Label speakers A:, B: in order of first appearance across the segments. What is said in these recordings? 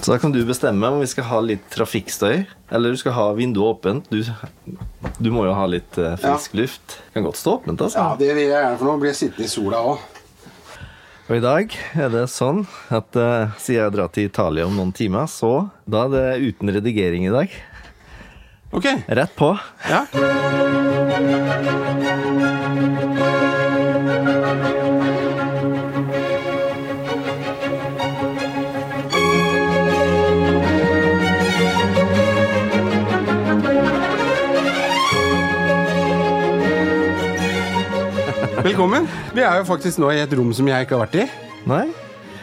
A: Så da kan du bestemme om vi skal ha litt trafikkstøy, eller du skal ha vinduet åpent. Du, du må jo ha litt eh, frisk luft. Kan godt stå åpent, altså.
B: Ja, det vil jeg gjerne, for nå blir jeg sittende i sola òg.
A: Og i dag er det sånn at eh, siden jeg drar til Italia om noen timer, så da er det uten redigering i dag.
B: Ok.
A: Rett på.
B: Ja. Velkommen. Vi er jo faktisk nå i et rom som jeg ikke har vært i.
A: Nei?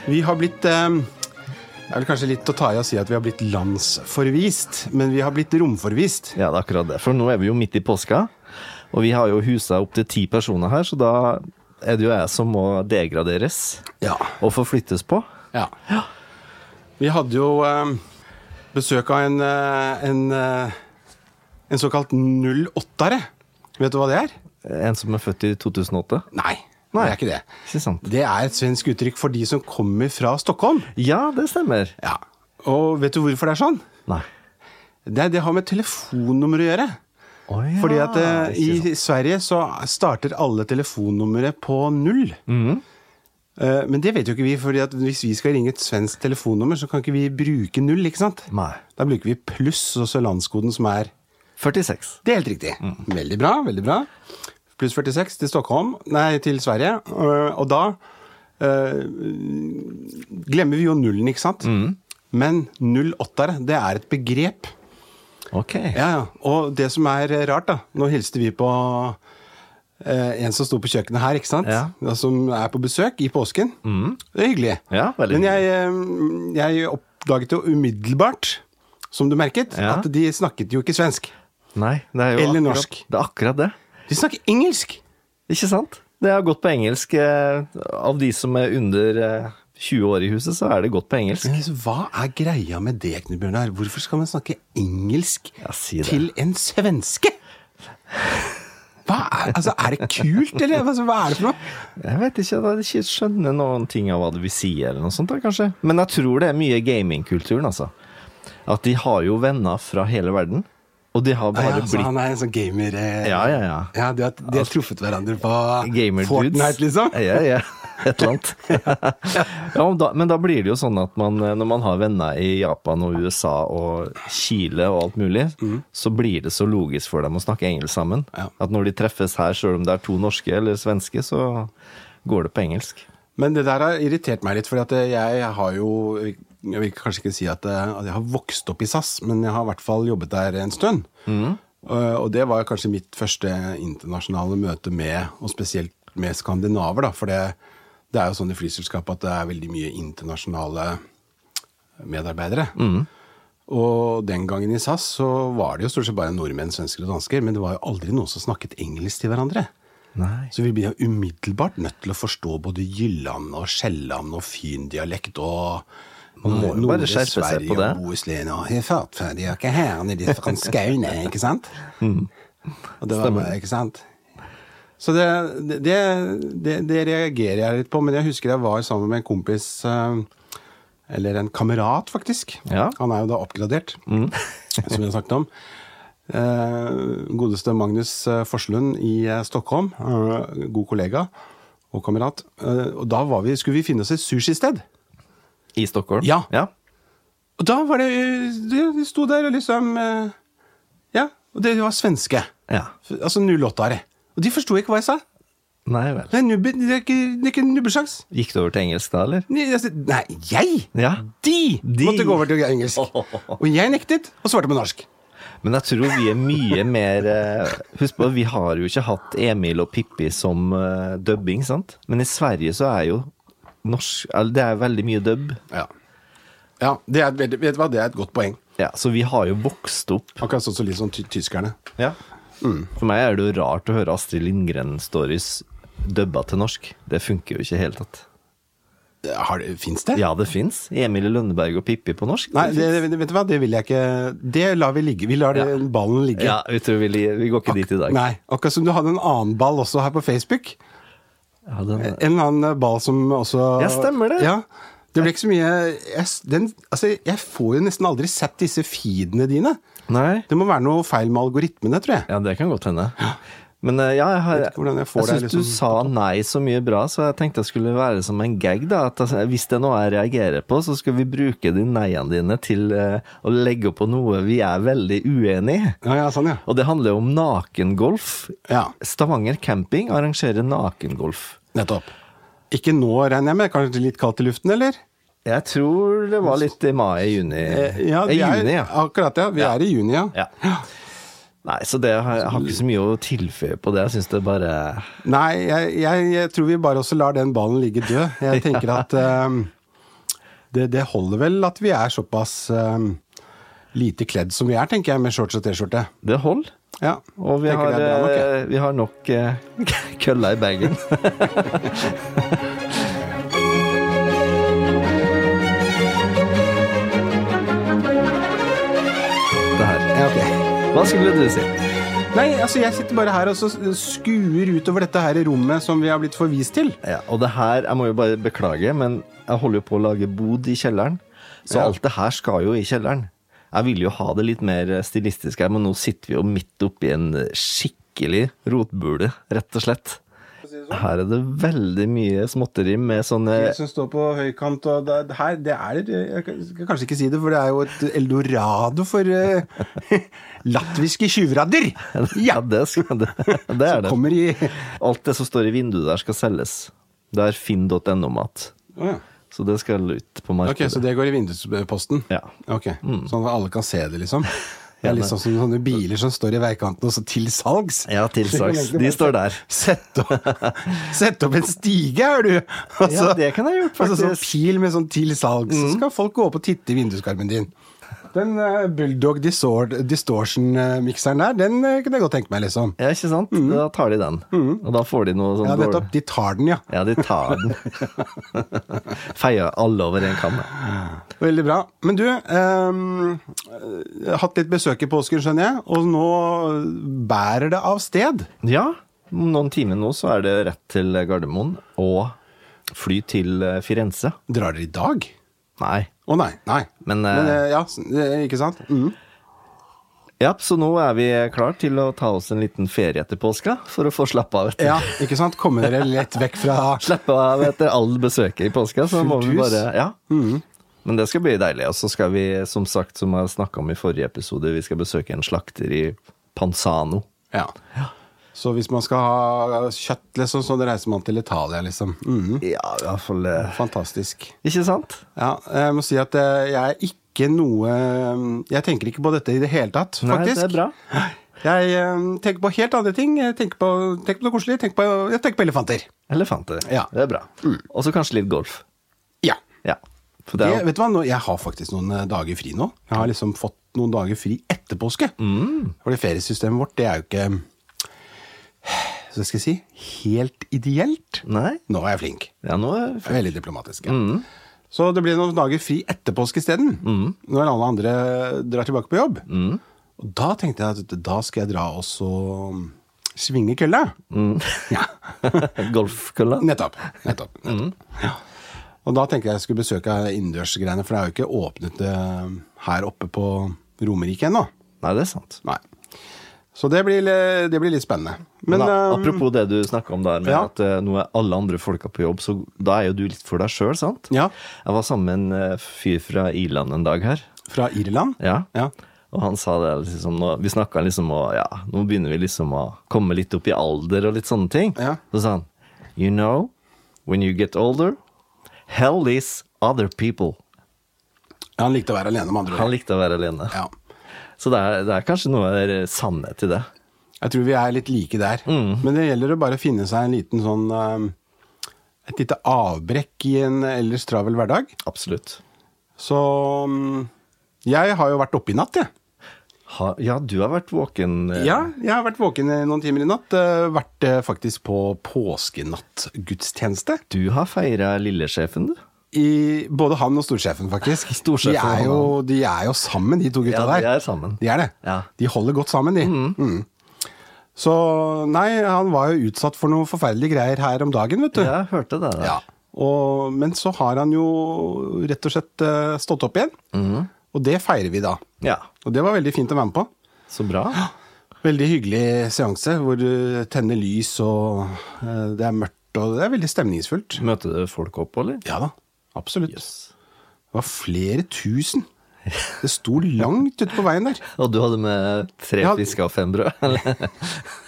B: Vi har blitt eh, Det er vel kanskje litt å ta i å si at vi har blitt landsforvist, men vi har blitt romforvist.
A: Ja, det er akkurat det. For nå er vi jo midt i påska, og vi har jo husa opptil ti personer her, så da er det jo jeg som må degraderes
B: Ja.
A: og forflyttes på.
B: ja. Vi hadde jo eh, besøk av en, eh, en, eh, en såkalt 08-ere. Vet du hva det er?
A: En som er født i 2008.
B: Nei,
A: Nei.
B: det er ikke det.
A: Ikke sant?
B: Det er et svensk uttrykk for de som kommer fra Stockholm.
A: Ja, det stemmer.
B: Ja. Og vet du hvorfor det er sånn?
A: Nei.
B: Det, det har med telefonnummer å gjøre.
A: Oh, ja.
B: Fordi at eh,
A: ikke sant.
B: i Sverige så starter alle telefonnumre på null.
A: Mhm.
B: Eh, men det vet jo ikke vi, fordi at hvis vi skal ringe et svensk telefonnummer, så kan ikke vi bruke null, ikke sant?
A: Nei.
B: Da bruker vi pluss, og så landskoden som er
A: 46.
B: Det er helt riktig.
A: Mm.
B: Veldig bra, veldig bra. Pluss 46 til Stockholm, nei, til Sverige. eh, og da eh, glemmer vi jo nullen, ikke sant?
A: Mm.
B: Men 08-ere, det er et begrep.
A: Ok.
B: Ja, ja. Og det som er eh, rart, da Nå hilste vi på eh, en som sto på kjøkkenet her, ikke sant?
A: Ja. Mm.
B: Og Som er på besøk i påsken. Det er hyggelig.
A: Ja, veldig
B: Men jeg, eh, jeg oppdaget jo umiddelbart, som du merket,
A: Ja.
B: at de snakket jo ikke svensk.
A: Nei, det er jo
B: Eller
A: akkurat,
B: norsk.
A: Det er akkurat det.
B: De snakker engelsk!
A: Ikke sant? Det er godt på engelsk. eh, Av de som er under eh, 20 år i huset, så er det godt på engelsk.
B: Men liksom, hva er greia med det, Knut Bjørnar? Hvorfor skal man snakke engelsk
A: Ja, si det.
B: til en svenske? Hva er, altså, er det kult, eller? Altså, hva er det for noe?
A: Jeg vet ikke, jeg ikke skjønner noen ting av hva det vil si, eller noe sånt da, kanskje. Men jeg tror det er mye i gamingkulturen, altså. At de har jo venner fra hele verden, og de har bare
B: Ja, altså,
A: blitt
B: han er en sånn gamer... eh,
A: Ja, ja, ja. Altså,
B: Ja, de har, de har truffet hverandre på
A: Gamer dudes.
B: Fortnite, liksom.
A: Ja, ja. Et eller annet. ja, men, da, men da blir det jo sånn at man, eh, når man har venner i Japan og USA og Chile og alt mulig, så blir det så logisk for dem å snakke engelsk sammen.
B: Mm. Ja.
A: At når de treffes her, sjøl om det er to norske eller svenske, så går det på engelsk.
B: Men det der har irritert meg litt, for jeg har jo Jeg vil kanskje ikke si at eh, at jeg har vokst opp i SAS, men jeg har i hvert fall jobbet der en stund. Eh, Og det var kanskje mitt første internasjonale møte med, og spesielt med skandinaver, da. For det, det er jo sånn i flyselskapet at det er veldig mye internasjonale medarbeidere. Og den gangen i SAS så var det jo stort sett bare nordmenn, svensker og dansker, men det var jo aldri noen som snakket engelsk til hverandre.
A: Nei.
B: Så vi blir jo umiddelbart nødt til å forstå både Jylland og Sjælland og Fyn-dialekt og
A: Man må jo bare
B: Nordre
A: skjerpe seg
B: Sverige
A: på det.
B: Og Bohuslän og «Jeg er fartferdig, og ikke her nede fra Skåne, ikke sant? Og det
A: Mm.
B: var,
A: Stemmer.
B: ikke sant? Så det, det, det, det reagerer jeg litt på, men jeg husker jeg var sammen med en kompis eh, Eller en kamerat, faktisk.
A: Ja.
B: Han er jo da oppgradert, som vi har snakket om. Eh, godeste Magnus eh, Forslund i eh, Stockholm. eh, god kollega og kamerat. Eh, og da var vi, skulle vi finne oss et sushisted.
A: I Stockholm?
B: Ja.
A: ja.
B: Og da var det de, de sto der og liksom eh, Ja. Og det var svenske.
A: Ja.
B: Altså 08-are. Og de forsto ikke hva jeg sa.
A: Nei vel.
B: Det er, nubbe, det er ikke, det er ikke nubbesjans.
A: Gikk det over til engelsk da, eller?
B: Nei, altså, nei, jeg!
A: Ja.
B: De, Oh.
A: De.
B: måtte gå over til engelsk. Og jeg nektet, og svarte på norsk.
A: Men jeg tror vi er mye mer eh, Husk på, vi har jo ikke hatt Emil og Pippi som eh, dubbing, sant? Men i Sverige så er jo norsk eller Det er veldig mye dubb.
B: Ja. ja det er, et veldig- vet du hva, det er et godt poeng.
A: Ja, så vi har jo vokst opp.
B: Akkurat sånn som litt sånn ty tyskerne. Mm.
A: For meg er det jo rart å høre Astrid Lindgren-stories dubba til norsk. Det funker jo ikke i det hele tatt.
B: Har det- Fins det?
A: Ja, det fins. Emil i Lønneberg og Pippi på norsk.
B: Nei, det, det- vet du hva, det vil jeg ikke Det lar vi ligge. Vi lar det, ballen ligge.
A: Ja, vi, tror vi, li- vi går ikke dit i dag.
B: Nei, Akkurat som du hadde en annen ball også her på Facebook.
A: Ja, den,
B: En annen eh, ball som også
A: Ja, stemmer det.
B: Ja, Det ble ikke så mye jeg, s- den, altså, jeg får jo nesten aldri sett disse feedene dine.
A: Nei?
B: Det må være noe feil med algoritmene, tror jeg.
A: Ja, det kan godt hende. Men eh, ja, jeg, har-
B: Vet ikke hvordan jeg får det,
A: syns du
B: liksom.
A: sa nei så mye bra, så jeg tenkte jeg skulle være som en gag. da, at altså, Hvis det er noe jeg reagerer på, så skal vi bruke de nei-ene dine til eh, å legge på noe vi er veldig uenig i.
B: Ja, ja, sånn, ja.
A: Og det handler jo om nakengolf.
B: ja.
A: Stavanger camping arrangerer nakengolf.
B: Nettopp. Ikke nå, regner jeg med? Kanskje litt kaldt i luften, eller?
A: Jeg tror det var litt i mai-juni.
B: Eh, Ja, vi er,
A: Eh, juni, ja.
B: akkurat, ja. Vi er i juni, ja.
A: ja. Nei, så det har, jeg har ikke så mye å tilføye på det. Jeg syns det bare
B: Nei, jeg, jeg, jeg tror vi bare også lar den ballen ligge død. Jeg tenker at eh, det, det holder vel at vi er såpass eh, lite kledd som vi er, tenker jeg, med shorts og T-skjorte.
A: Det holder.
B: Ja,
A: Og vi
B: tenker
A: har,
B: det er bra nok, jeg.
A: eh, vi har nok eh, kølla i bagen. Det her.
B: Ja, ok.
A: Hva skulle du si?
B: Nei, altså jeg sitter bare her og så skuer utover dette her rommet som vi har blitt forvist til.
A: Ja, og det her, jeg må jo bare beklage, men jeg holder jo på å lage bod i kjelleren. Så
B: Ja.
A: alt det her skal jo i kjelleren. Jeg vil jo ha det litt mer stilistisk her, men nå sitter vi jo midt oppi en skikkelig rotbule, rett og slett.
B: sånn.
A: Her er det veldig mye småtteri med sånne
B: Som står på høykant, og det, her, det er Jeg skal kanskje ikke si det, for det er jo et eldorado for eh, latviske tjuvradder!
A: Ja, det, skal, det, det er det.
B: Kommer i
A: Alt det som står i vinduet der, skal selges. Det er finn.no-mat.
B: Å ja.
A: Så det skal ut på
B: Ok,
A: markedet.
B: så det går i vindusposten?
A: Ja. Mm.
B: Ok, Sånn at alle kan se det, liksom? Det er litt sånn som sånne biler som står i veikanten og så til salgs.
A: Ja, til salgs. De står der.
B: Sett opp, sett opp en stige, er du! Og
A: Ja, det kan jeg ha gjort,
B: og så sånn
A: faktisk. Mm.
B: pil med sånn til salgs, så skal folk gå opp og titte i vinduskarmen din. Den eh, Bulldog Distort- Distortion-mikseren der, den eh, kunne jeg godt tenke meg, liksom.
A: Ja, ikke sant? Da tar de den. Og da får de noe sånn
B: Mm. Ja,
A: dårlig-
B: nettopp. De tar den, ja.
A: Ja, de tar den. Feier alle over en kam.
B: Veldig bra. Men du, ehm, eh, hatt litt besøk i påsken, skjønner jeg, og nå bærer det av sted.
A: Ja, om noen timer nå så er det rett til Gardermoen og fly til eh, Firenze.
B: Drar dere i dag?
A: Nei.
B: Å nei, nei.
A: Men, eh,
B: eh, ja, s- eh, ikke sant? Mm.
A: Ja, så nå er vi klar til å ta oss en liten ferie etter påska for å få slappe av. Etter.
B: Ja, ikke sant? Kommer dere lett vekk fra
A: Slappe av etter all besøket i påska, så må
B: Fullt
A: vi
B: hus. Mm.
A: bare Ja. Men det skal bli deilig. Og så skal vi, som sagt, som jeg snakka om i forrige episode, vi skal besøke en slakter i Panzano.
B: Ja. Så hvis man skal ha kjøtt, liksom, så reiser man til Italia, liksom. Mhm.
A: Ja, i hvert fall eh,
B: Fantastisk.
A: Ikke sant?
B: Ja, jeg må si at eh, jeg er ikke noe eh, Jeg tenker ikke på dette i det hele tatt,
A: Nei,
B: faktisk.
A: det er bra.
B: Jeg eh, tenker på helt andre ting. Jeg tenker på, tenker på noe koselig. Jeg tenker på, jeg tenker på elefanter.
A: Elefanter.
B: Ja. Mm.
A: Det er bra. Og så kanskje litt golf.
B: Ja.
A: Ja. For det
B: Jeg,
A: er,
B: vet du hva, nå, jeg har faktisk noen eh, dager fri nå. Jeg har liksom fått noen dager fri etter påske.
A: Mm.
B: For det feriesystemet vårt, det er jo ikke Så skal jeg si helt ideelt.
A: nei?
B: Nå er jeg flink.
A: Ja, nå er
B: Jeg er Veldig diplomatisk. Ja.
A: Mm.
B: Så det blir noen dager fri etter påske isteden. Når alle andre drar tilbake på jobb.
A: Mm.
B: Og da tenkte jeg at da skal jeg dra og så um, svinge kølla.
A: Mm.
B: Ja,
A: golfkølla.
B: nettopp. nettopp, nettopp.
A: Mm.
B: Ja. Og da tenkte jeg jeg skulle besøke innendørsgreiene, for det er jo ikke åpnet eh, her oppe på Romerike ennå.
A: Nei, det er sant.
B: Nei. Så det blir, det blir litt spennende. Men,
A: Men
B: eh,
A: apropos det du snakka om der, med
B: ja.
A: at eh, nå er alle andre folka på jobb, så da er jo du litt for deg sjøl, sant?
B: Ja.
A: Jeg var sammen med en eh, fyr fra Irland en dag her.
B: fra Irland
A: Ja.
B: Ja.
A: Og han sa det liksom nå, Vi snakka liksom om Ja, nå begynner vi liksom å komme litt opp i alder og litt sånne ting.
B: Ja.
A: Så sa han You know, when you get older, hell is other people.
B: Han likte å være alene, med andre
A: Han
B: ord.
A: likte å være alene.
B: Ja.
A: Så det er, det er kanskje noe der sannhet i det.
B: Jeg tror vi er litt like der.
A: Mm.
B: Men det gjelder å bare finne seg en liten sånn eh, Et lite avbrekk i en ellers travel hverdag.
A: Absolutt.
B: Så mm, jeg har jo vært oppe i natt, jeg.
A: Ha, ja, du har vært våken. eh,
B: Ja, jeg har vært våken i noen timer i natt. eh, Vært eh, faktisk på påskenattgudstjeneste.
A: Du har feira lillesjefen, du.
B: I både han og storsjefen, faktisk.
A: Storsjefen
B: de, er
A: og
B: jo, de er jo sammen, de to gutta
A: Ja, de
B: der.
A: er sammen.
B: De er det.
A: Ja.
B: De holder godt sammen, de. Mm. Så nei, han var jo utsatt for noen forferdelige greier her om dagen, vet du.
A: Jeg hørte det. der.
B: Ja. Og, men så har han jo rett og slett eh, stått opp igjen. Og det feirer vi da.
A: Ja,
B: Og det var veldig fint å være med på.
A: så bra.
B: Veldig hyggelig seanse hvor du tenner lys og eh, det er mørkt og det er veldig stemningsfullt.
A: Møter du folk opp, eller?
B: Ja da, absolutt.
A: Yes.
B: Det var flere tusen. Det sto langt ute på veien der.
A: Og du hadde med tre
B: Ja.
A: fisker og fem brød? Eller?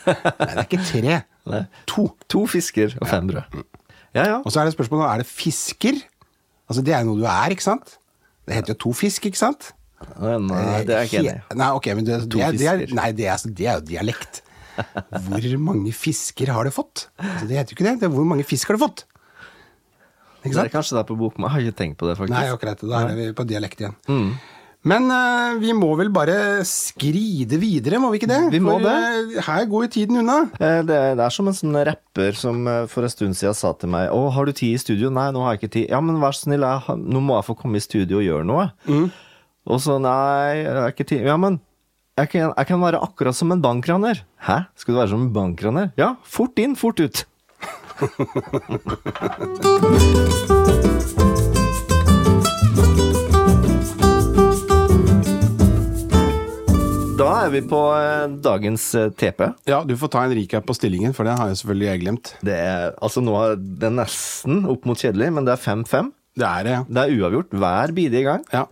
B: Nei, det er ikke tre.
A: Nei.
B: To.
A: To fisker og fem brød. Ja ja.
B: Og så er det spørsmålet er det fisker. Altså Det er jo noe du er, ikke sant? Det heter jo to fisk, ikke sant?
A: Nei, det er jeg ikke enig i.
B: He- Nei, ok, men det, det, er, det, er,
A: fisker.
B: nei, det, er, det er jo dialekt. Hvor mange fisker har du fått? Altså, det heter jo ikke det. det er hvor mange fisk har du fått?
A: Det
B: Ikke
A: er
B: sant?
A: kanskje det er på bokmål. Jeg har ikke Mm. tenkt på det, faktisk.
B: Nei, akkurat. Da er vi på dialekt igjen. Men eh, vi må vel bare skride videre, må vi ikke det?
A: Vi må
B: For, eh, her går jo tiden unna.
A: Eh, Det, det er som en sånn rapper som eh, for en stund siden sa til meg Å, har du tid i studio? Nei, nå har jeg ikke tid. Ja, men vær så snill, jeg, har- nå må jeg få komme i studio og gjøre noe. Og så nei, jeg har ikke tid. Ja, men jeg kan, jeg kan være akkurat som en bankraner. Hæ? Skal du være som en bankraner? Ja, fort inn, fort ut. Da er vi på eh, dagens eh, TP.
B: Ja, du får ta en recap på stillingen, for det har jo selvfølgelig jeg glemt.
A: Det er, altså nå er det nesten opp mot kjedelig, men det er 5-5.
B: Det er det, ja.
A: Det er uavgjort hver bidige gang.
B: Ja.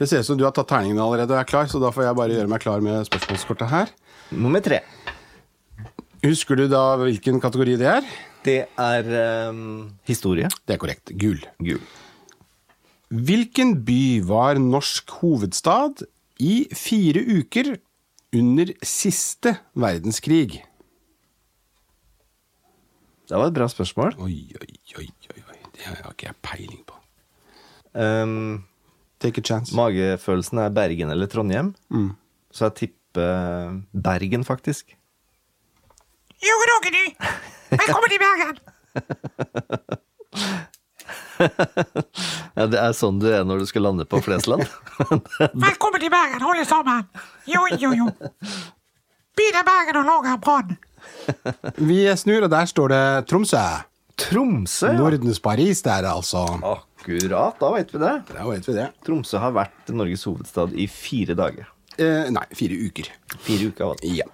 B: Det ser ut som du har tatt terningen allerede og er klar, så da får jeg bare gjøre meg klar med spørsmålskortet her.
A: Nummer tre.
B: Husker du da hvilken kategori det er?
A: Det er ehm, historie.
B: Det er korrekt. Gul.
A: Gul.
B: Hvilken by var norsk hovedstad i fire uker under siste verdenskrig?
A: Det var et bra spørsmål.
B: Oi, oi, oi, oi, oi. Det har ikke jeg peiling på.
A: Ehm,
B: Take a chance.
A: magefølelsen er Bergen eller Trondheim, så jeg tipper eh, Bergen, faktisk.
C: Jo, Roger, du. Velkommen til Bergen.
A: Ja, det er sånn du er når du skal lande på Flesland.
C: Velkommen til Bergen, alle sammen. Jo, jo, jo. Byen er Bergen og lager en brann.
B: Vi snur, og der står det Tromsø.
A: Tromsø! ja.
B: Nordens Paris der, altså.
A: Akkurat, da vet vi det.
B: Da vet vi det.
A: Tromsø har vært Norges hovedstad i fire dager.
B: Eh, nei, fire uker.
A: Fire uker. var det.
B: Ja.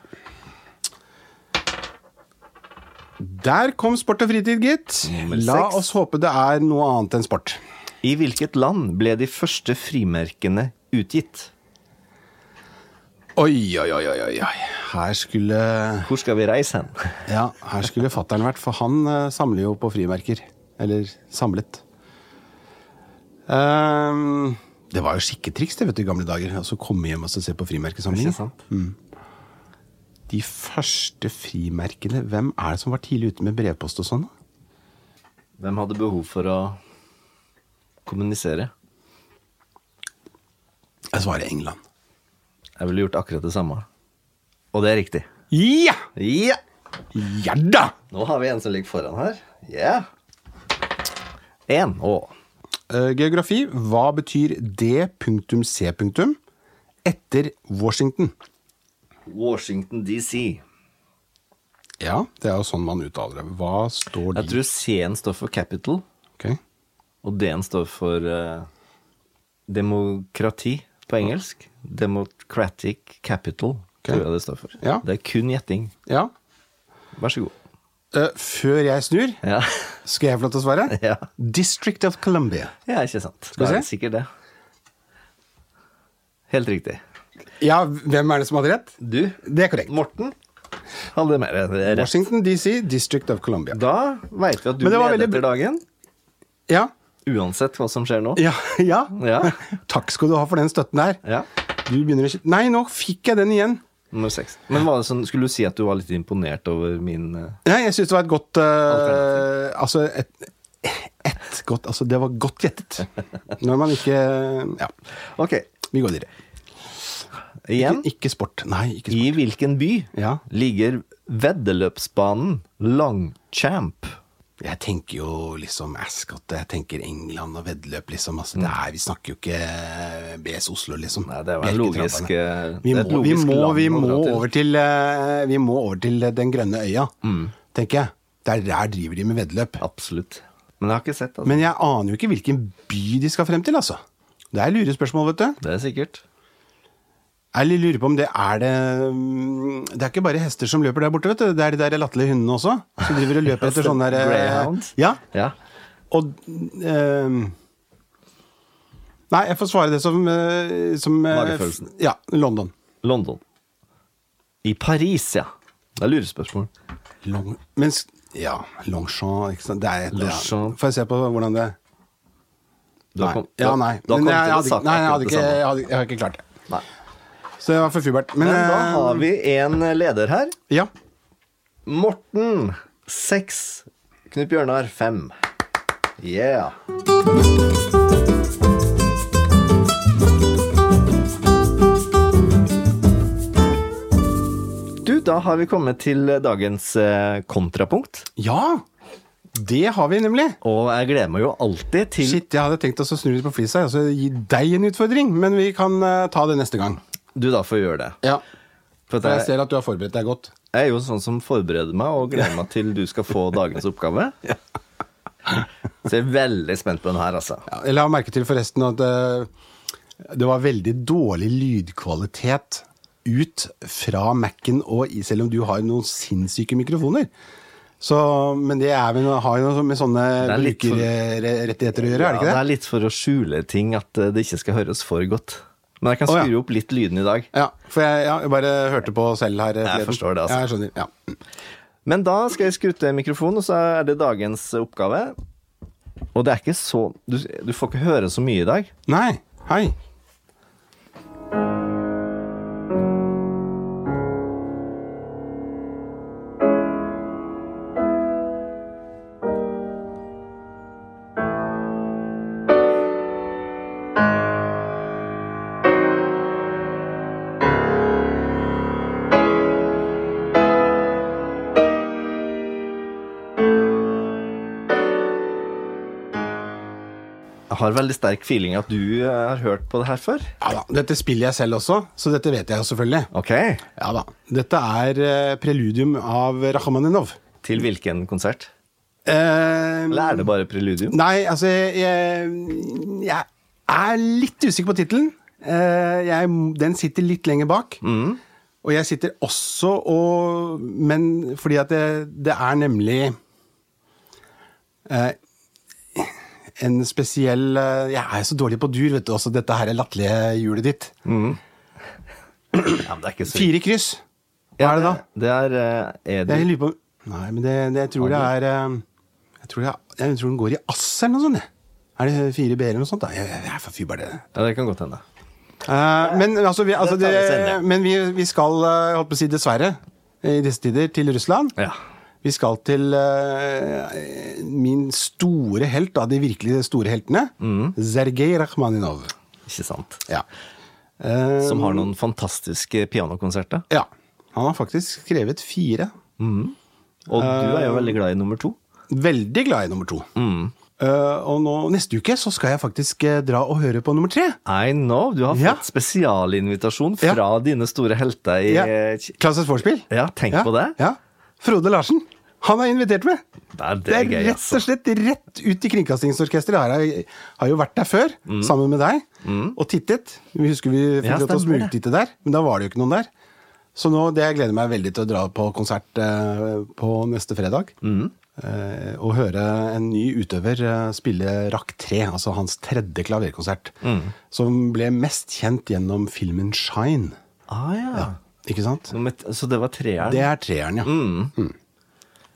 B: Der kom sport og fritid, gitt.
A: Nummer
B: La
A: seks.
B: oss håpe det er noe annet enn sport.
A: I hvilket land ble de første frimerkene utgitt?
B: Oi, oi, oi, oi, oi. oi. Her skulle
A: Hvor skal vi reise hen?
B: Ja, her skulle fattern vært, for han eh, samler jo på frimerker. Eller samlet. Ehm, det var jo skikketriks det, vet du, i gamle dager. Altså Komme hjem og så se på frimerkesamlingen. De første frimerkene Hvem er det som var tidlig ute med brevpost og sånn? da?
A: Hvem hadde behov for å kommunisere?
B: Jeg svarer England.
A: Jeg ville gjort akkurat det samme. Og det er riktig.
B: Ja!
A: Ja!
B: Ja da!
A: Nå har vi en som ligger foran her. Ja. En. Å.
B: Eh, Geografi. Hva betyr D.C. etter Washington?
A: Washington DC.
B: Ja, det er jo sånn man uttaler det. Hva står
A: Jeg
B: de
A: tror C-en står for capital,
B: Ok.
A: og D-en står for eh, demokrati på engelsk. Democratic capital, tror jeg det står for.
B: Ja.
A: Det er kun gjetting.
B: Ja.
A: Vær så god.
B: Eh, før jeg snur,
A: Ja,
B: skal jeg få lov til å svare?
A: Ja.
B: District of Columbia.
A: ja ikke sant.
B: vi
A: Da er det
B: se?
A: sikkert det. Helt riktig.
B: Ja, hvem er det som hadde rett?
A: Du,
B: Det er korrekt.
A: Morten hadde mer rett.
B: Washington DC, District of Columbia.
A: Da veit vi at du
B: Men det var
A: leder
B: veldig-
A: etter dagen.
B: Ja.
A: Uansett hva som skjer nå.
B: Ja. ja.
A: Ja.
B: Takk skal du ha for den støtten der.
A: Ja.
B: Du begynner å kj- Nei, nå fikk jeg den igjen.
A: Nummer seks. Men var det sånn, skulle du si at du var litt imponert over min eh,
B: Nei, jeg syns det var et godt eh, Altså, et, et godt Altså, det var godt gjettet. Når man ikke Ja,
A: Ok,
B: vi går videre.
A: igjen.
B: Ikke, ikke sport. Nei, ikke sport.
A: I hvilken by
B: Ja.
A: ligger veddeløpsbanen Longchamp?
B: Jeg tenker jo liksom Ascot, jeg tenker England og veddeløp, liksom. Altså, det er, vi snakker jo ikke BS Oslo, liksom.
A: Mm. Nei, det var en
B: Bjerketrampene.
A: logisk, eh,
B: Vi
A: det er
B: må,
A: et
B: vi
A: logisk
B: må,
A: land
B: vi
A: å
B: må
A: dra til.
B: over til eh, Vi
A: Mm.
B: må over til eh, Den grønne øya, tenker jeg. Det er der driver de med veddeløp.
A: Absolutt. Men jeg har ikke sett, altså.
B: Men jeg aner jo ikke hvilken by de skal frem til, altså. Det er lure spørsmål, vet du.
A: det er sikkert.
B: Jeg lurer på om det er det mm, Det er ikke bare hester som løper der borte, vet du. Det er de der latterlige hundene også. Som driver og løper etter sånne der
A: Altså,
B: eh,
A: Greyhound?
B: Ja.
A: sånn eh, Ja.
B: Og eh, Nei, jeg får svare det som, eh, som eh,
A: Magefølelsen.
B: Ja, London.
A: London. I Paris, ja. Det er lurespørsmål.
B: Long, mens, ja, Longchamp ikke sant? Det er et, ja.
A: Longchamp.
B: Får jeg se på hvordan det
A: Du har
B: Nei.
A: kom-
B: Ja, nei.
A: Du har
B: Men
A: kommet
B: jeg,
A: til å
B: hadde,
A: sagt
B: nei, jeg,
A: akkurat
B: hadde
A: det
B: ikke,
A: samme.
B: jeg, hadde, jeg har ikke klart det.
A: Nei.
B: Så det var for fubert. Men,
A: Men da
B: eh,
A: har vi en leder her.
B: Ja.
A: Morten, seks. Knut Bjørnar, fem. Yeah. Du, da har vi kommet til dagens eh, kontrapunkt.
B: ja! Det har vi nemlig.
A: Og jeg gleder meg jo alltid til
B: Shit, jeg hadde tenkt oss å snu litt på flisa og så gi deg en utfordring, men vi kan eh, ta det neste gang.
A: du da får gjøre det.
B: Ja.
A: For
B: For jeg
A: at jeg,
B: ser at du har forberedt deg godt.
A: jeg er jo sånn som forbereder meg og gleder meg til du skal få dagens oppgave. Så jeg er veldig spent på den her, altså.
B: Ja, jeg la merke til forresten at eh, det var veldig dårlig lydkvalitet ut fra Mac-en, og i, selv om du har noen sinnssyke mikrofoner. Så, men det er vel, har jo noe med sånne
A: Det er litt for-
B: brukerrettigheter å gjøre, er det
A: Ja,
B: ikke
A: er
B: det?
A: litt for å skjule ting, at eh, det ikke skal høres for godt. Men jeg kan
B: Å, ja.
A: skru opp litt lyden i dag.
B: Ja, for jeg, ja, jeg bare hørte på selv her. eh, forleden.
A: forstår det, altså.
B: Ja, jeg skjønner, ja.
A: Men da skal jeg skrutte mikrofonen, og så er det dagens oppgave. Og det er ikke så Du, du får ikke høre så mye i dag.
B: Nei, hei.
A: Jeg har veldig sterk feeling at du eh, har hørt på det her før.
B: Ja da, dette spiller jeg selv også, så dette vet jeg jo selvfølgelig.
A: Ok.
B: Ja da. Dette er eh, preludium av Rakhmaninov.
A: Til hvilken konsert?
B: Eh,
A: Eller er det bare preludium?
B: Nei, altså Jeg, jeg er litt usikker på tittelen. Eh, jeg- Den sitter litt lenger bak. Og jeg sitter også og Men fordi at det, det er nemlig eh, en spesiell eh, Jeg er så dårlig på dur, vet du. Også dette her er latterlige hjulet ditt.
A: Ja, men det er ikke så
B: Fire kryss.
A: Ja,
B: er det da?
A: Det er eh,
B: Jeg
A: Edith
B: lurer på Nei, men det, det, jeg tror det er eh, jeg tror, det, er- jeg tror den går i ass eller noe sånt. jeg. Er det fire b-er eller noe sånt? Da? Jeg, jeg, jeg er for fyr bare det.
A: Ja, det kan godt hende.
B: Eh, men altså, vi, altså,
A: Det tar vi
B: det,
A: senere.
B: men vi, vi skal, eh, jeg holdt på å si dessverre, i disse tider, til Russland.
A: Ja.
B: Vi skal til eh, min store helt, av de virkelig store heltene,
A: Mm.
B: Sergej Rakhmaninov.
A: Ikke sant.
B: Ja. Eh,
A: Som har noen fantastiske pianokonserter.
B: ja. Han har faktisk skrevet fire.
A: Og du
B: Eh.
A: er jo veldig glad i nummer to.
B: Veldig glad i nummer to.
A: Mm.
B: Eh, og nå, neste uke så skal jeg faktisk eh, dra og høre på nummer tre.
A: I know. Du har fått
B: Ja.
A: spesialinvitasjon fra
B: Ja.
A: dine store helter i eh,
B: Ja.
A: ja.
B: Klassisk vorspiel.
A: Ja, tenk på det.
B: Ja. Frode Larsen. Han er invitert med.
A: Det er, det
B: Det er
A: gøy,
B: rett
A: altså.
B: og slett rett ut i Kringkastingsorkesteret. Her har jeg- har jo vært der før, sammen med deg, og tittet. Vi husker vi fikk
A: Mm. Ja,
B: lov til å
A: stemmer det.
B: smugtitte der, men da var det jo ikke noen der. Så nå, det jeg gleder meg veldig til å dra på konsert eh, på neste fredag.
A: Mm.
B: Eh, og høre en ny utøver eh, spille Rakk 3, altså hans tredje klaverkonsert.
A: Mm.
B: Som ble mest kjent gjennom filmen Shine.
A: Ah, ja.
B: Ikke sant?
A: Nummer t- Så det var treeren.
B: Det er treeren, ja. Mm.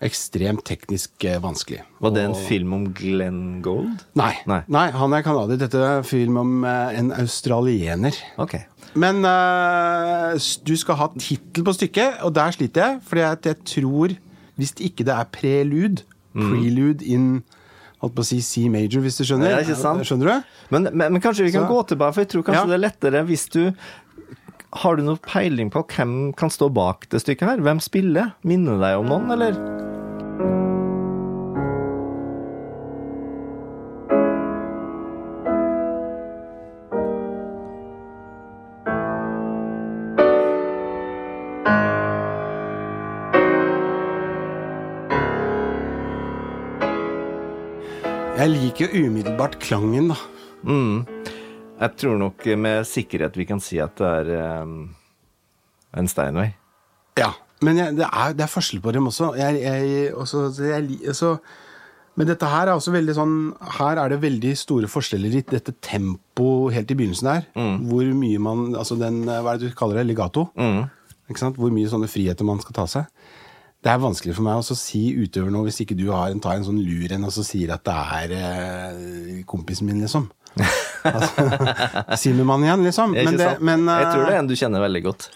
B: Ekstremt teknisk eh, vanskelig.
A: Var det en film om Glenn Gold?
B: Nei.
A: Nei.
B: Nei. han er canadier. Dette er en film om eh, en australiener.
A: Ok.
B: Men eh, s- du skal ha tittel på stykket, og der sliter jeg. For jeg, jeg tror, hvis ikke det er prelude,
A: Mm.
B: prelude in holdt på å si C major, hvis du skjønner.
A: Ja, ikke sant?
B: Skjønner du?
A: Men, men, men kanskje vi kan
B: Så-
A: gå tilbake, for jeg tror kanskje
B: Ja.
A: det er lettere hvis du Har du noe peiling på hvem kan stå bak det stykket her? Hvem spiller? Minner deg om noen, eller?
B: Jeg liker jo umiddelbart klangen, da.
A: Jeg tror nok med sikkerhet vi kan si at det er eh, en Steinway.
B: Ja, men jeg, det, er, det er forskjell på dem også. Jeg, jeg, også, så jeg li- så- men dette her er også veldig sånn Her er det veldig store forskjeller i dette tempoet helt i begynnelsen der.
A: Mm.
B: Hvor mye man Altså den eh, Hva er det du kaller det? Legato? Ikke sant? Hvor mye sånne friheter man skal ta seg. Det er vanskelig for meg også å si utøver nå, hvis ikke du har en, tar en sånn lur en og så sier at det er eh, kompisen min, liksom. altså, Simermann igjen, liksom.
A: Ikke
B: Men det,
A: sant?
B: men,
A: jeg tror det
B: eh,
A: er en du kjenner veldig godt.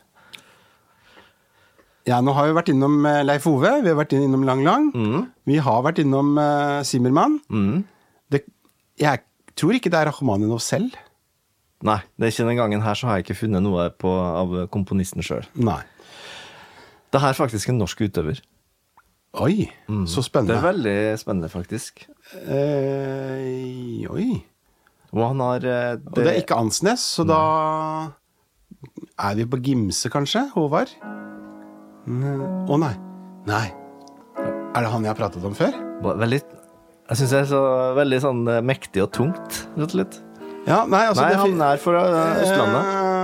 B: Ja, nå har vi vært innom eh, Leif Ove, vi har vært innom Lang Lang.
A: Mm.
B: Vi har vært innom eh, Zimmermann. Det, jeg tror ikke det er Rakhmaninov selv.
A: Nei, det er ikke den gangen her så har jeg ikke funnet noe på, av komponisten sjøl.
B: Nei.
A: Det her er faktisk en norsk utøver.
B: Oi, så
A: Mm. Det er
B: spennende.
A: veldig spennende, faktisk.
B: Eh, oi.
A: Og han har eh,
B: Og det er ikke Ansnes, så da er vi på Gimse, kanskje? Håvard? Ne- Å nei. Nei. Er det han jeg har pratet om før?
A: ba- veldig, Jeg syns det er så veldig sånn eh, mektig og tungt, rett og slett.
B: Ja, nei, altså,
A: Nei,
B: det
A: han er fra eh, Østlandet.
B: Eh,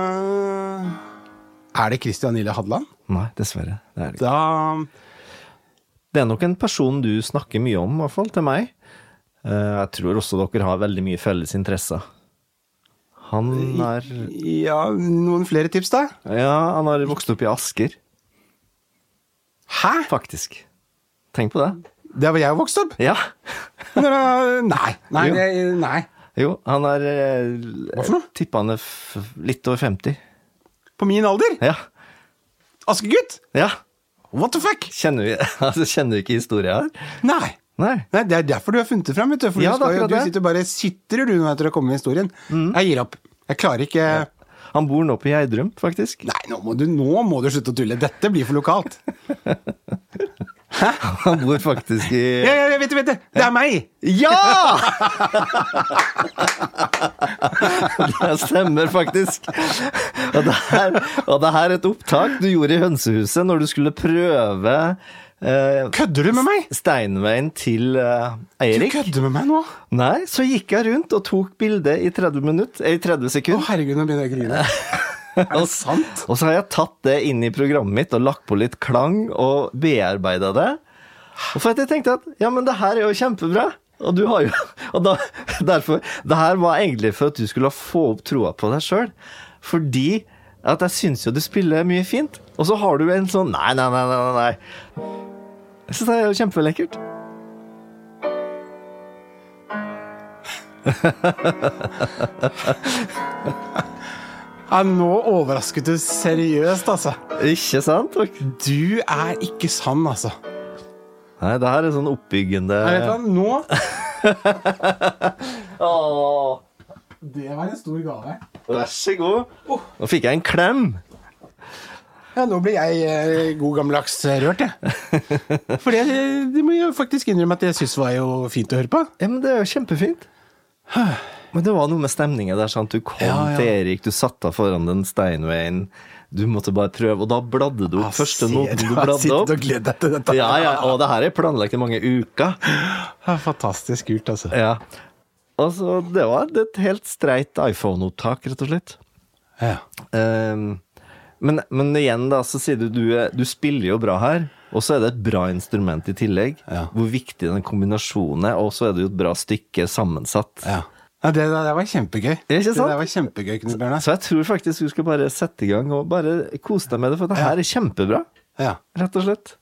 B: Er det Christian Ille Hadeland?
A: Nei, dessverre. Det er det ikke.
B: Da
A: Det er nok en person du snakker mye om, i hvert fall til meg. Eh, Jeg tror også dere har veldig mye felles interesser. Han er
B: Ja, noen flere tips, da?
A: Ja, han har vokst opp i Asker,
B: Hæ?
A: faktisk. Tenk på det.
B: Der var jeg vokst opp?
A: Ja.
B: Når jeg- Nei. Nei,
A: Jo.
B: jeg- nei.
A: Jo, han er eh,
B: Hva for noe?
A: Tipper han er f litt over 50.
B: På min alder?
A: Ja.
B: Askegutt?
A: ja.
B: What the fuck?
A: Kjenner vi altså, Kjenner vi ikke historia her?
B: Nei.
A: Nei.
B: Nei, Det er derfor du har funnet det fram. Vet du. For
A: Ja,
B: du,
A: det er
B: skal, jo-
A: akkurat
B: du
A: det. Mm.
B: sitter bare sitrer du nå etter å komme med historien. Jeg gir opp. Jeg klarer ikke
A: Han bor nå på Geidrum, faktisk.
B: Nei, nå må, du, nå må du slutte å tulle. Dette blir for lokalt.
A: Han bor faktisk
B: Ja,
A: i
B: ja, ja, vet du, vet du. Det er meg!
A: Ja! det stemmer faktisk. Og det, her, og det her er et opptak du gjorde i Hønsehuset når du skulle prøve eh,
B: Kødder du med meg?
A: Steinveien til eh,
B: Du
A: Eirik.
B: kødder med meg nå?
A: Nei, så gikk jeg rundt og tok bilde i 30 minutt, eh, i 30
B: Å,
A: sekunder.
B: herregud, nå begynner jeg å grine. Er det sant?
A: Og så har jeg tatt det inn i programmet mitt og lagt på litt klang og bearbeida det. Og for at jeg tenkte at ja, men det her er jo kjempebra. Og du har jo Og da, derfor Det her var egentlig for at du skulle få opp troa på deg sjøl. Fordi at jeg syns jo du spiller mye fint. Og så har du en sånn Nei, nei, nei, nei. nei. Jeg syns det er jo kjempelekkert.
B: Ja, nå overrasket du seriøst, altså.
A: Ikke sant? Og-
B: Du er ikke sann, altså.
A: Nei, det her er sånn oppbyggende
B: Jeg vet hva, nå
A: Åh,
B: Det var en stor gave.
A: Vær så god.
B: Oh.
A: Nå fikk jeg en klem.
B: Ja, nå blir jeg eh, god gammeldags eh, rørt, jeg. For det, det må jeg faktisk innrømme at jeg syns var jo fint å høre på.
A: Ja, men det er jo kjempefint. Men det var noe med stemninga der. sant? Du kom
B: Ja, ja.
A: til Erik, du satt deg foran den steinveien. Du måtte bare prøve, og da bladde du
B: Ah,
A: opp første noten du
B: har
A: bladde
B: sittet
A: opp.
B: og gledet deg til dette.
A: Ja, ja, og det her er planlagt i mange uker.
B: Ja, Fantastisk kult, altså.
A: Ja. Altså, det var et helt streit iPhone-opptak, rett og slett.
B: Ja.
A: Ehm, men, men igjen, da, så sier du, du eh, du spiller jo bra her. Og så er det et bra instrument i tillegg.
B: Ja.
A: Hvor viktig den kombinasjonen er. Og så er det jo et bra stykke sammensatt.
B: ja. ja det, det var kjempegøy.
A: Ikke sant?
B: Det der var kjempegøy, Knut Bjørnar.
A: Så jeg tror faktisk du skal bare sette i gang og bare kose deg med det, for det her er kjempebra.
B: Ja.
A: Rett og slett.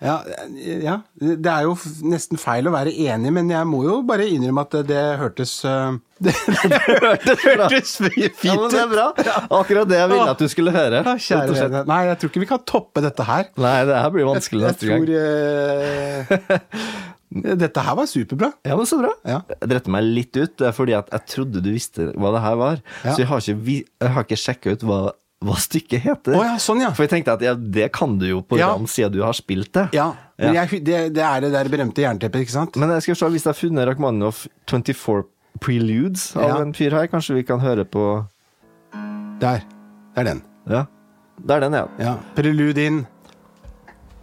B: Ja, eh, ja. Det er jo f- nesten feil å være enig, men jeg må jo bare innrømme at det, det hørtes eh, Det, det hørtes,
A: bra. Ja,
B: fint
A: men det er bra. Akkurat det jeg ville at du skulle høre.
B: Ja,
A: rett
B: kjære
A: og slett.
B: vene. Nei, jeg tror ikke vi kan toppe dette her.
A: Nei, det her blir vanskelig
B: Jeg
A: neste gang.
B: tror eh, Dette her var superbra.
A: Ja, men så bra.
B: Ja.
A: Jeg drepte meg litt ut, det er fordi at jeg trodde du visste hva det her var.
B: Ja.
A: Så jeg har ikke, vi- jeg har ikke sjekka ut hva, hva stykket heter.
B: Å ja, sånn, ja.
A: For jeg tenkte at ja, det kan du jo på
B: Ja.
A: rams siden du har spilt det.
B: Ja, men
A: Ja.
B: jeg, det, det er det der berømte jernteppet, ikke sant?
A: Men jeg skal se hvis jeg har funnet Rakhmaninov 24 Preludes av
B: Ja.
A: en fyr her. Kanskje vi kan høre på
B: Der. Det er den.
A: Ja. Det er den, ja.
B: Ja. Prelude in.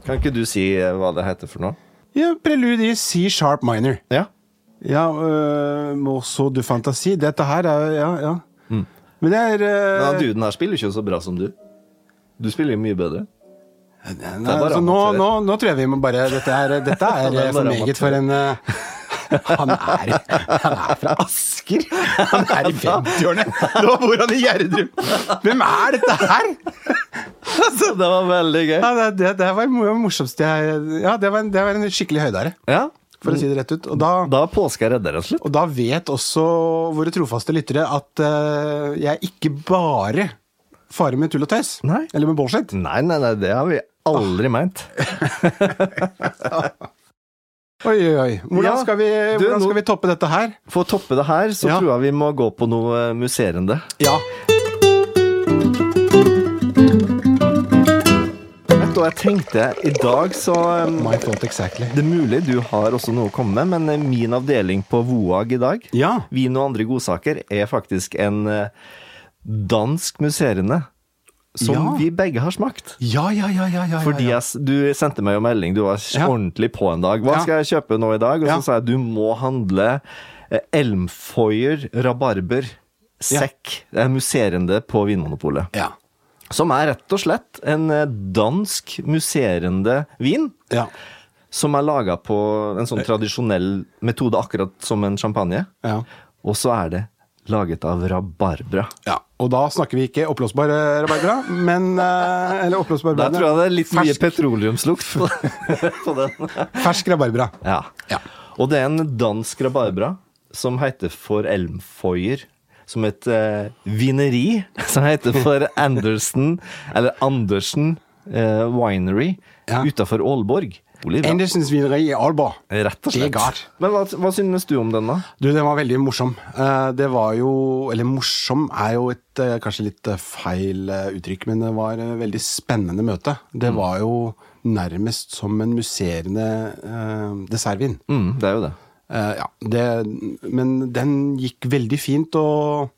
A: Kan ikke du si eh, hva det heter for noe?
B: Ja, prelude i C sharp minor.
A: Ja.
B: Ja, øh, Morceau du fantasi. Dette her er Ja, ja.
A: Mm.
B: Men det er øh,
A: Men han duden her spiller ikke så bra som du. Du spiller jo mye bedre.
B: nei,
A: er bare
B: altså, nå,
A: amatør.
B: nå, nå tror jeg vi må bare Dette er, dette er,
A: Det er
B: øh, for
A: bare
B: meget for en øh, han er, han er fra Asker! Han er i
A: altså.
B: 50-årene! Nå bor han i Gjerdrum! Hvem er dette her?!
A: Så Altså, det var veldig gøy.
B: Ja, det, det, det var det morsomste jeg Ja, det var en, det var en skikkelig høydare,
A: Ja, Mm.
B: for å si det rett ut. Og da,
A: da er påska redda, rett og slett.
B: Og da vet også våre trofaste lyttere at eh, jeg ikke bare farer med tull og tøys.
A: Nei.
B: Eller med bullshit.
A: Nei, nei, nei, det har vi
B: Ah.
A: aldri meint.
B: Oi, oi, oi. Hvordan,
A: Ja,
B: skal, vi,
A: du,
B: hvordan
A: nå-
B: skal vi toppe dette her?
A: For å toppe det her, så
B: Ja.
A: tror jeg vi må gå på noe eh, musserende.
B: Ja.
A: Og jeg tenkte i dag så um,
B: My thought exactly.
A: Det er mulig du har også noe å komme med, men eh, min avdeling på VOAG i dag,
B: Ja.
A: Vin og andre godsaker, er faktisk en eh, dansk musserende som
B: Ja.
A: vi begge har smakt.
B: Ja, ja, ja, ja, ja.
A: Fordi jeg,
B: ja, ja.
A: s- du sendte meg jo melding, du var
B: Ja.
A: ordentlig på en dag. Hva
B: Ja.
A: skal jeg kjøpe nå i dag? Og så
B: Ja.
A: sa jeg du må handle eh, elmfoyer rabarber sekk. Det er musserende på Vinmonopolet.
B: Ja.
A: Som er rett og slett en eh, dansk musserende vin.
B: Ja.
A: Som er laga på en
B: Eh.
A: sånn tradisjonell metode, akkurat som en champagne.
B: Ja.
A: Og så er det laget av rabarbra.
B: ja. Og da snakker vi ikke oppblåsbare rabarbra, men eh, Eller oppblåsbare
A: Der tror jeg det er litt mye
B: fersk,
A: petroleumslukt på- på den.
B: fersk rabarbra.
A: Ja.
B: Ja.
A: Og det er en dansk rabarbra som heter for Elmfoyer. Som et eh, vineri som heter for Andersen, eller Andersen eh, Winery
B: Ja.
A: utafor Aalborg. Bolig, ja.
B: Andersens vineri i Aalborg.
A: Rett og
B: Det er
A: slett.
B: galt.
A: Men hva, hva synes du om den, da?
B: Du, den var veldig morsom. Eh, Det var jo Eller morsom er jo et eh, kanskje litt eh, feil eh, uttrykk, men det var et veldig spennende møte.
A: Mm.
B: Det var jo nærmest som en musserende eh, dessertvin.
A: Mm, det er jo det.
B: Eh, ja, det, men den gikk veldig fint å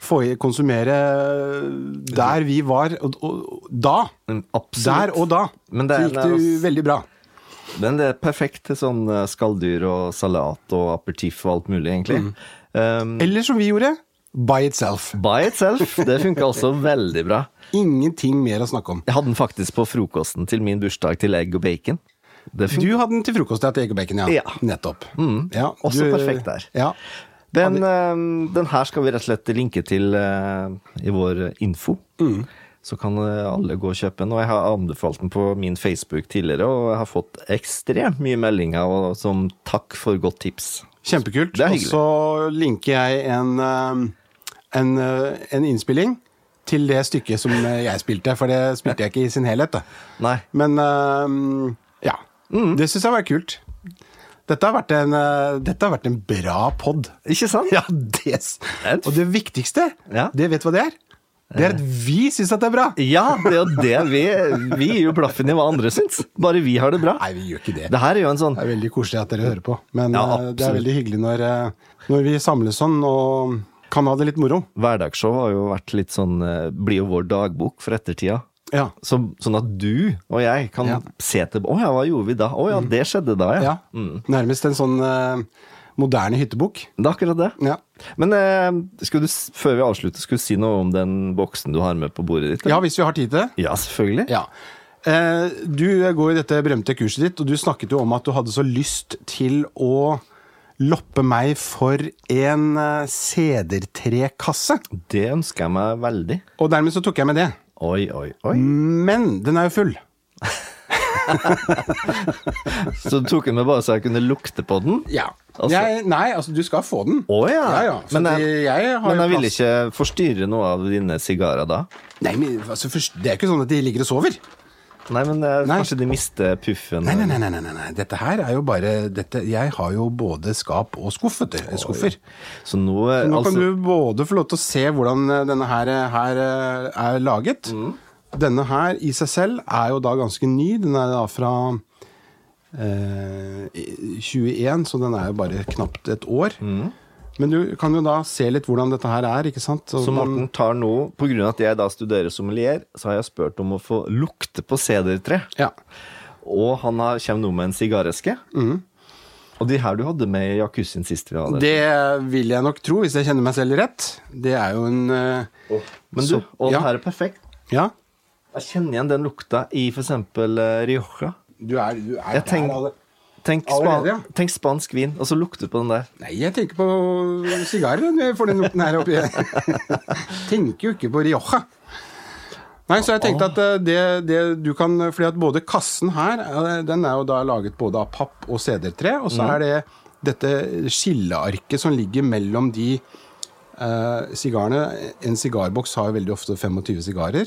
B: få i konsumere eh, der vi var. Og, og, da!
A: Mm, Absolutt.
B: Der og da!
A: Men det er-
B: så gikk det jo veldig bra.
A: Den er perfekt til sånn eh, skalldyr og salat og aperitiff og alt mulig,
B: Mm.
A: egentlig. Um,
B: Eller som vi gjorde, by itself.
A: by itself. Det funka altså veldig bra.
B: Ingenting mer å snakke om.
A: Jeg hadde den faktisk på frokosten til min bursdag til egg og bacon. Det
B: Du
A: fun-
B: hadde den til frokost til egg og bacon, ja.
A: Ja.
B: Nettopp. Mm, Ja,
A: Også perfekt der.
B: Ja.
A: den, eh, den her skal vi rett og slett linke til eh, i vår eh, info.
B: Mm.
A: Så kan eh, alle gå og kjøpe den. Og jeg har anbefalt den på min Facebook tidligere, og jeg har fått ekstremt mye meldinger og- som takk for godt tips.
B: Kjempekult.
A: Det er
B: Og
A: hyggelig.
B: så linker jeg en, eh, en, eh, en innspilling til det stykket som eh, jeg spilte, for det spilte jeg ikke i sin helhet. Da.
A: Nei. Mm.
B: Men eh, ja. Det syns jeg var kult. Dette har vært en, eh, dette har vært en bra pod.
A: Ikke sant?
B: Ja, det, s-
A: Et-
B: og det viktigste,
A: Ja. Eh.
B: det vet du hva det er? Det er at vi syns at det er bra.
A: Ja, det er jo det vi Vi gir jo blaffen i hva andre syns. Bare vi har det bra.
B: Nei, vi gjør ikke det.
A: Det her er jo en sånn
B: Det er veldig koselig at dere hører på, men
A: Ja,
B: eh, det er
A: absolutt.
B: veldig hyggelig når, eh, når vi samles sånn og kan ha det litt moro.
A: Hverdagsshow har jo vært litt sånn eh, Blir jo vår dagbok for ettertida.
B: Ja.
A: Så, sånn at du og jeg kan
B: Ja. Mm.
A: se til Å ja, hva gjorde vi da? Å ja, det skjedde da, ja. Mm.
B: ja. Nærmest en sånn eh, moderne hyttebukk.
A: Det er akkurat det.
B: Ja.
A: Men eh, skulle du, s- før vi avslutter, skulle du si noe om den boksen du har med på bordet ditt? eller?
B: ja, hvis vi har tid til det.
A: ja selvfølgelig.
B: Ja. Eh, Du går i dette berømte kurset ditt, og du snakket jo om at du hadde så lyst til å loppe meg for en eh, sedertrekasse,
A: Det ønsker jeg meg veldig.
B: og dermed så tok jeg med det.
A: Oi, oi, oi.
B: Mm. Men den er jo full.
A: Så du tok den med bare så jeg kunne lukte på den? Altså-
B: jeg, nei, altså, du skal få den.
A: Å ja.
B: ja, ja. Så
A: Men
B: det-
A: jeg,
B: jeg har
A: men
B: jo
A: jeg vil
B: plass.
A: ikke forstyrre noe av dine sigarer da.
B: Nei, men altså, først, Det er jo ikke sånn at de ligger og sover.
A: Nei, men eh,
B: Nei.
A: kanskje de mister puffen.
B: Nei, nei, nei, nei, nei, nei. Dette her er jo bare dette, Jeg har jo både skap og skuff, vet du. Skuffer.
A: Så nå, eh,
B: Nå
A: altså,
B: kan du både få lov til å se hvordan eh, denne her, eh, her eh, er laget.
A: Mm.
B: Denne her i seg selv er jo da ganske ny. Den er da fra eh, 21, så den er jo bare knapt et år.
A: Mm.
B: Men du kan jo da se litt hvordan dette her er, ikke sant? Så
A: Så
B: man-
A: Morten tar nå, på grunn av at jeg da studerer sommelier, så har jeg spurt om å få lukte på sedertre.
B: ja.
A: Og han har, kommer nå med en sigareske. Og de her du hadde med i jacuzzien sist vi hadde.
B: Mm. Det vil jeg nok tro, hvis jeg kjenner meg selv rett. Det er jo en eh,
A: Men du,
B: så-
A: og
B: ja.
A: den her er perfekt.
B: Ja.
A: Jeg kjenner igjen den lukta i f.eks. Rioja.
B: Du er, du er
A: Jeg tenk-
B: der alle-
A: Tenk,
B: Allerede,
A: span
B: ja.
A: tenk spansk vin, og så lukter du på den der.
B: Nei, jeg tenker på sigarer når jeg får den lukten her oppi. tenker jo ikke på Rioja. Nei, så jeg tenkte at eh, det, det du kan Fordi at både kassen her, eh, den er jo da laget både av papp og sedertre, og så er det dette skillearket som ligger mellom de eh, sigarene En sigarboks har jo veldig ofte 25 sigarer,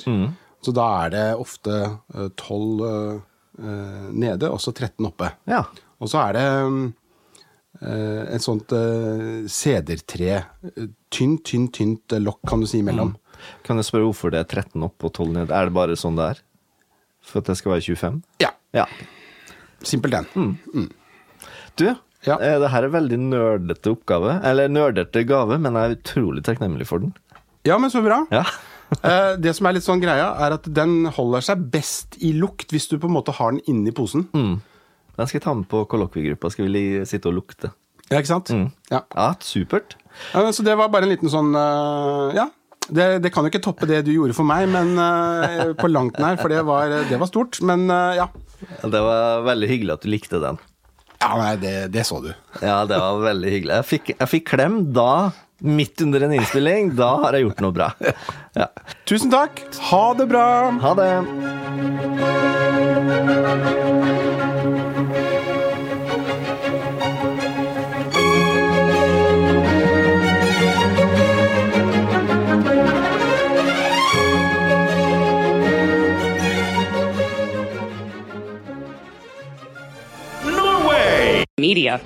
B: så da er det ofte eh, 12 eh, eh, nede, og så 13 oppe.
A: Ja.
B: Og så er det um, eh, et sånt eh, sedertre. eh, Tynt, tynt, tynt eh, lokk, kan du si,
A: Mm.
B: imellom.
A: Kan jeg spørre hvorfor det er 13 opp og 12 ned? Er det bare sånn det er? For at det skal være 25?
B: Ja.
A: Ja.
B: Simpelthen.
A: Du,
B: Ja.
A: eh, det her er veldig nerdete oppgave. Eller nerdete gave, men jeg er utrolig takknemlig for den.
B: Ja, men så bra.
A: Ja.
B: Eh, det som er litt sånn greia, er at den holder seg best i lukt hvis du på en måte har den inni posen.
A: Den skal jeg ta med på kollokviegruppa. Skal vi li- sitte og lukte?
B: Ja, ikke sant? Ja.
A: Ja, supert.
B: Ja, men Så det var bare en liten sånn eh, Ja. Det, det kan jo ikke toppe det du gjorde for meg, men eh, på langt nær, for det var, det var stort. Men eh, ja.
A: Ja, Det var veldig hyggelig at du likte den.
B: Ja, nei, det, det så du.
A: Ja, det var veldig hyggelig. Jeg fikk, jeg fikk klem da, midt under en innspilling. Da har jeg gjort noe bra. Ja.
B: Tusen takk. Ha det bra.
A: Ha det.
D: media.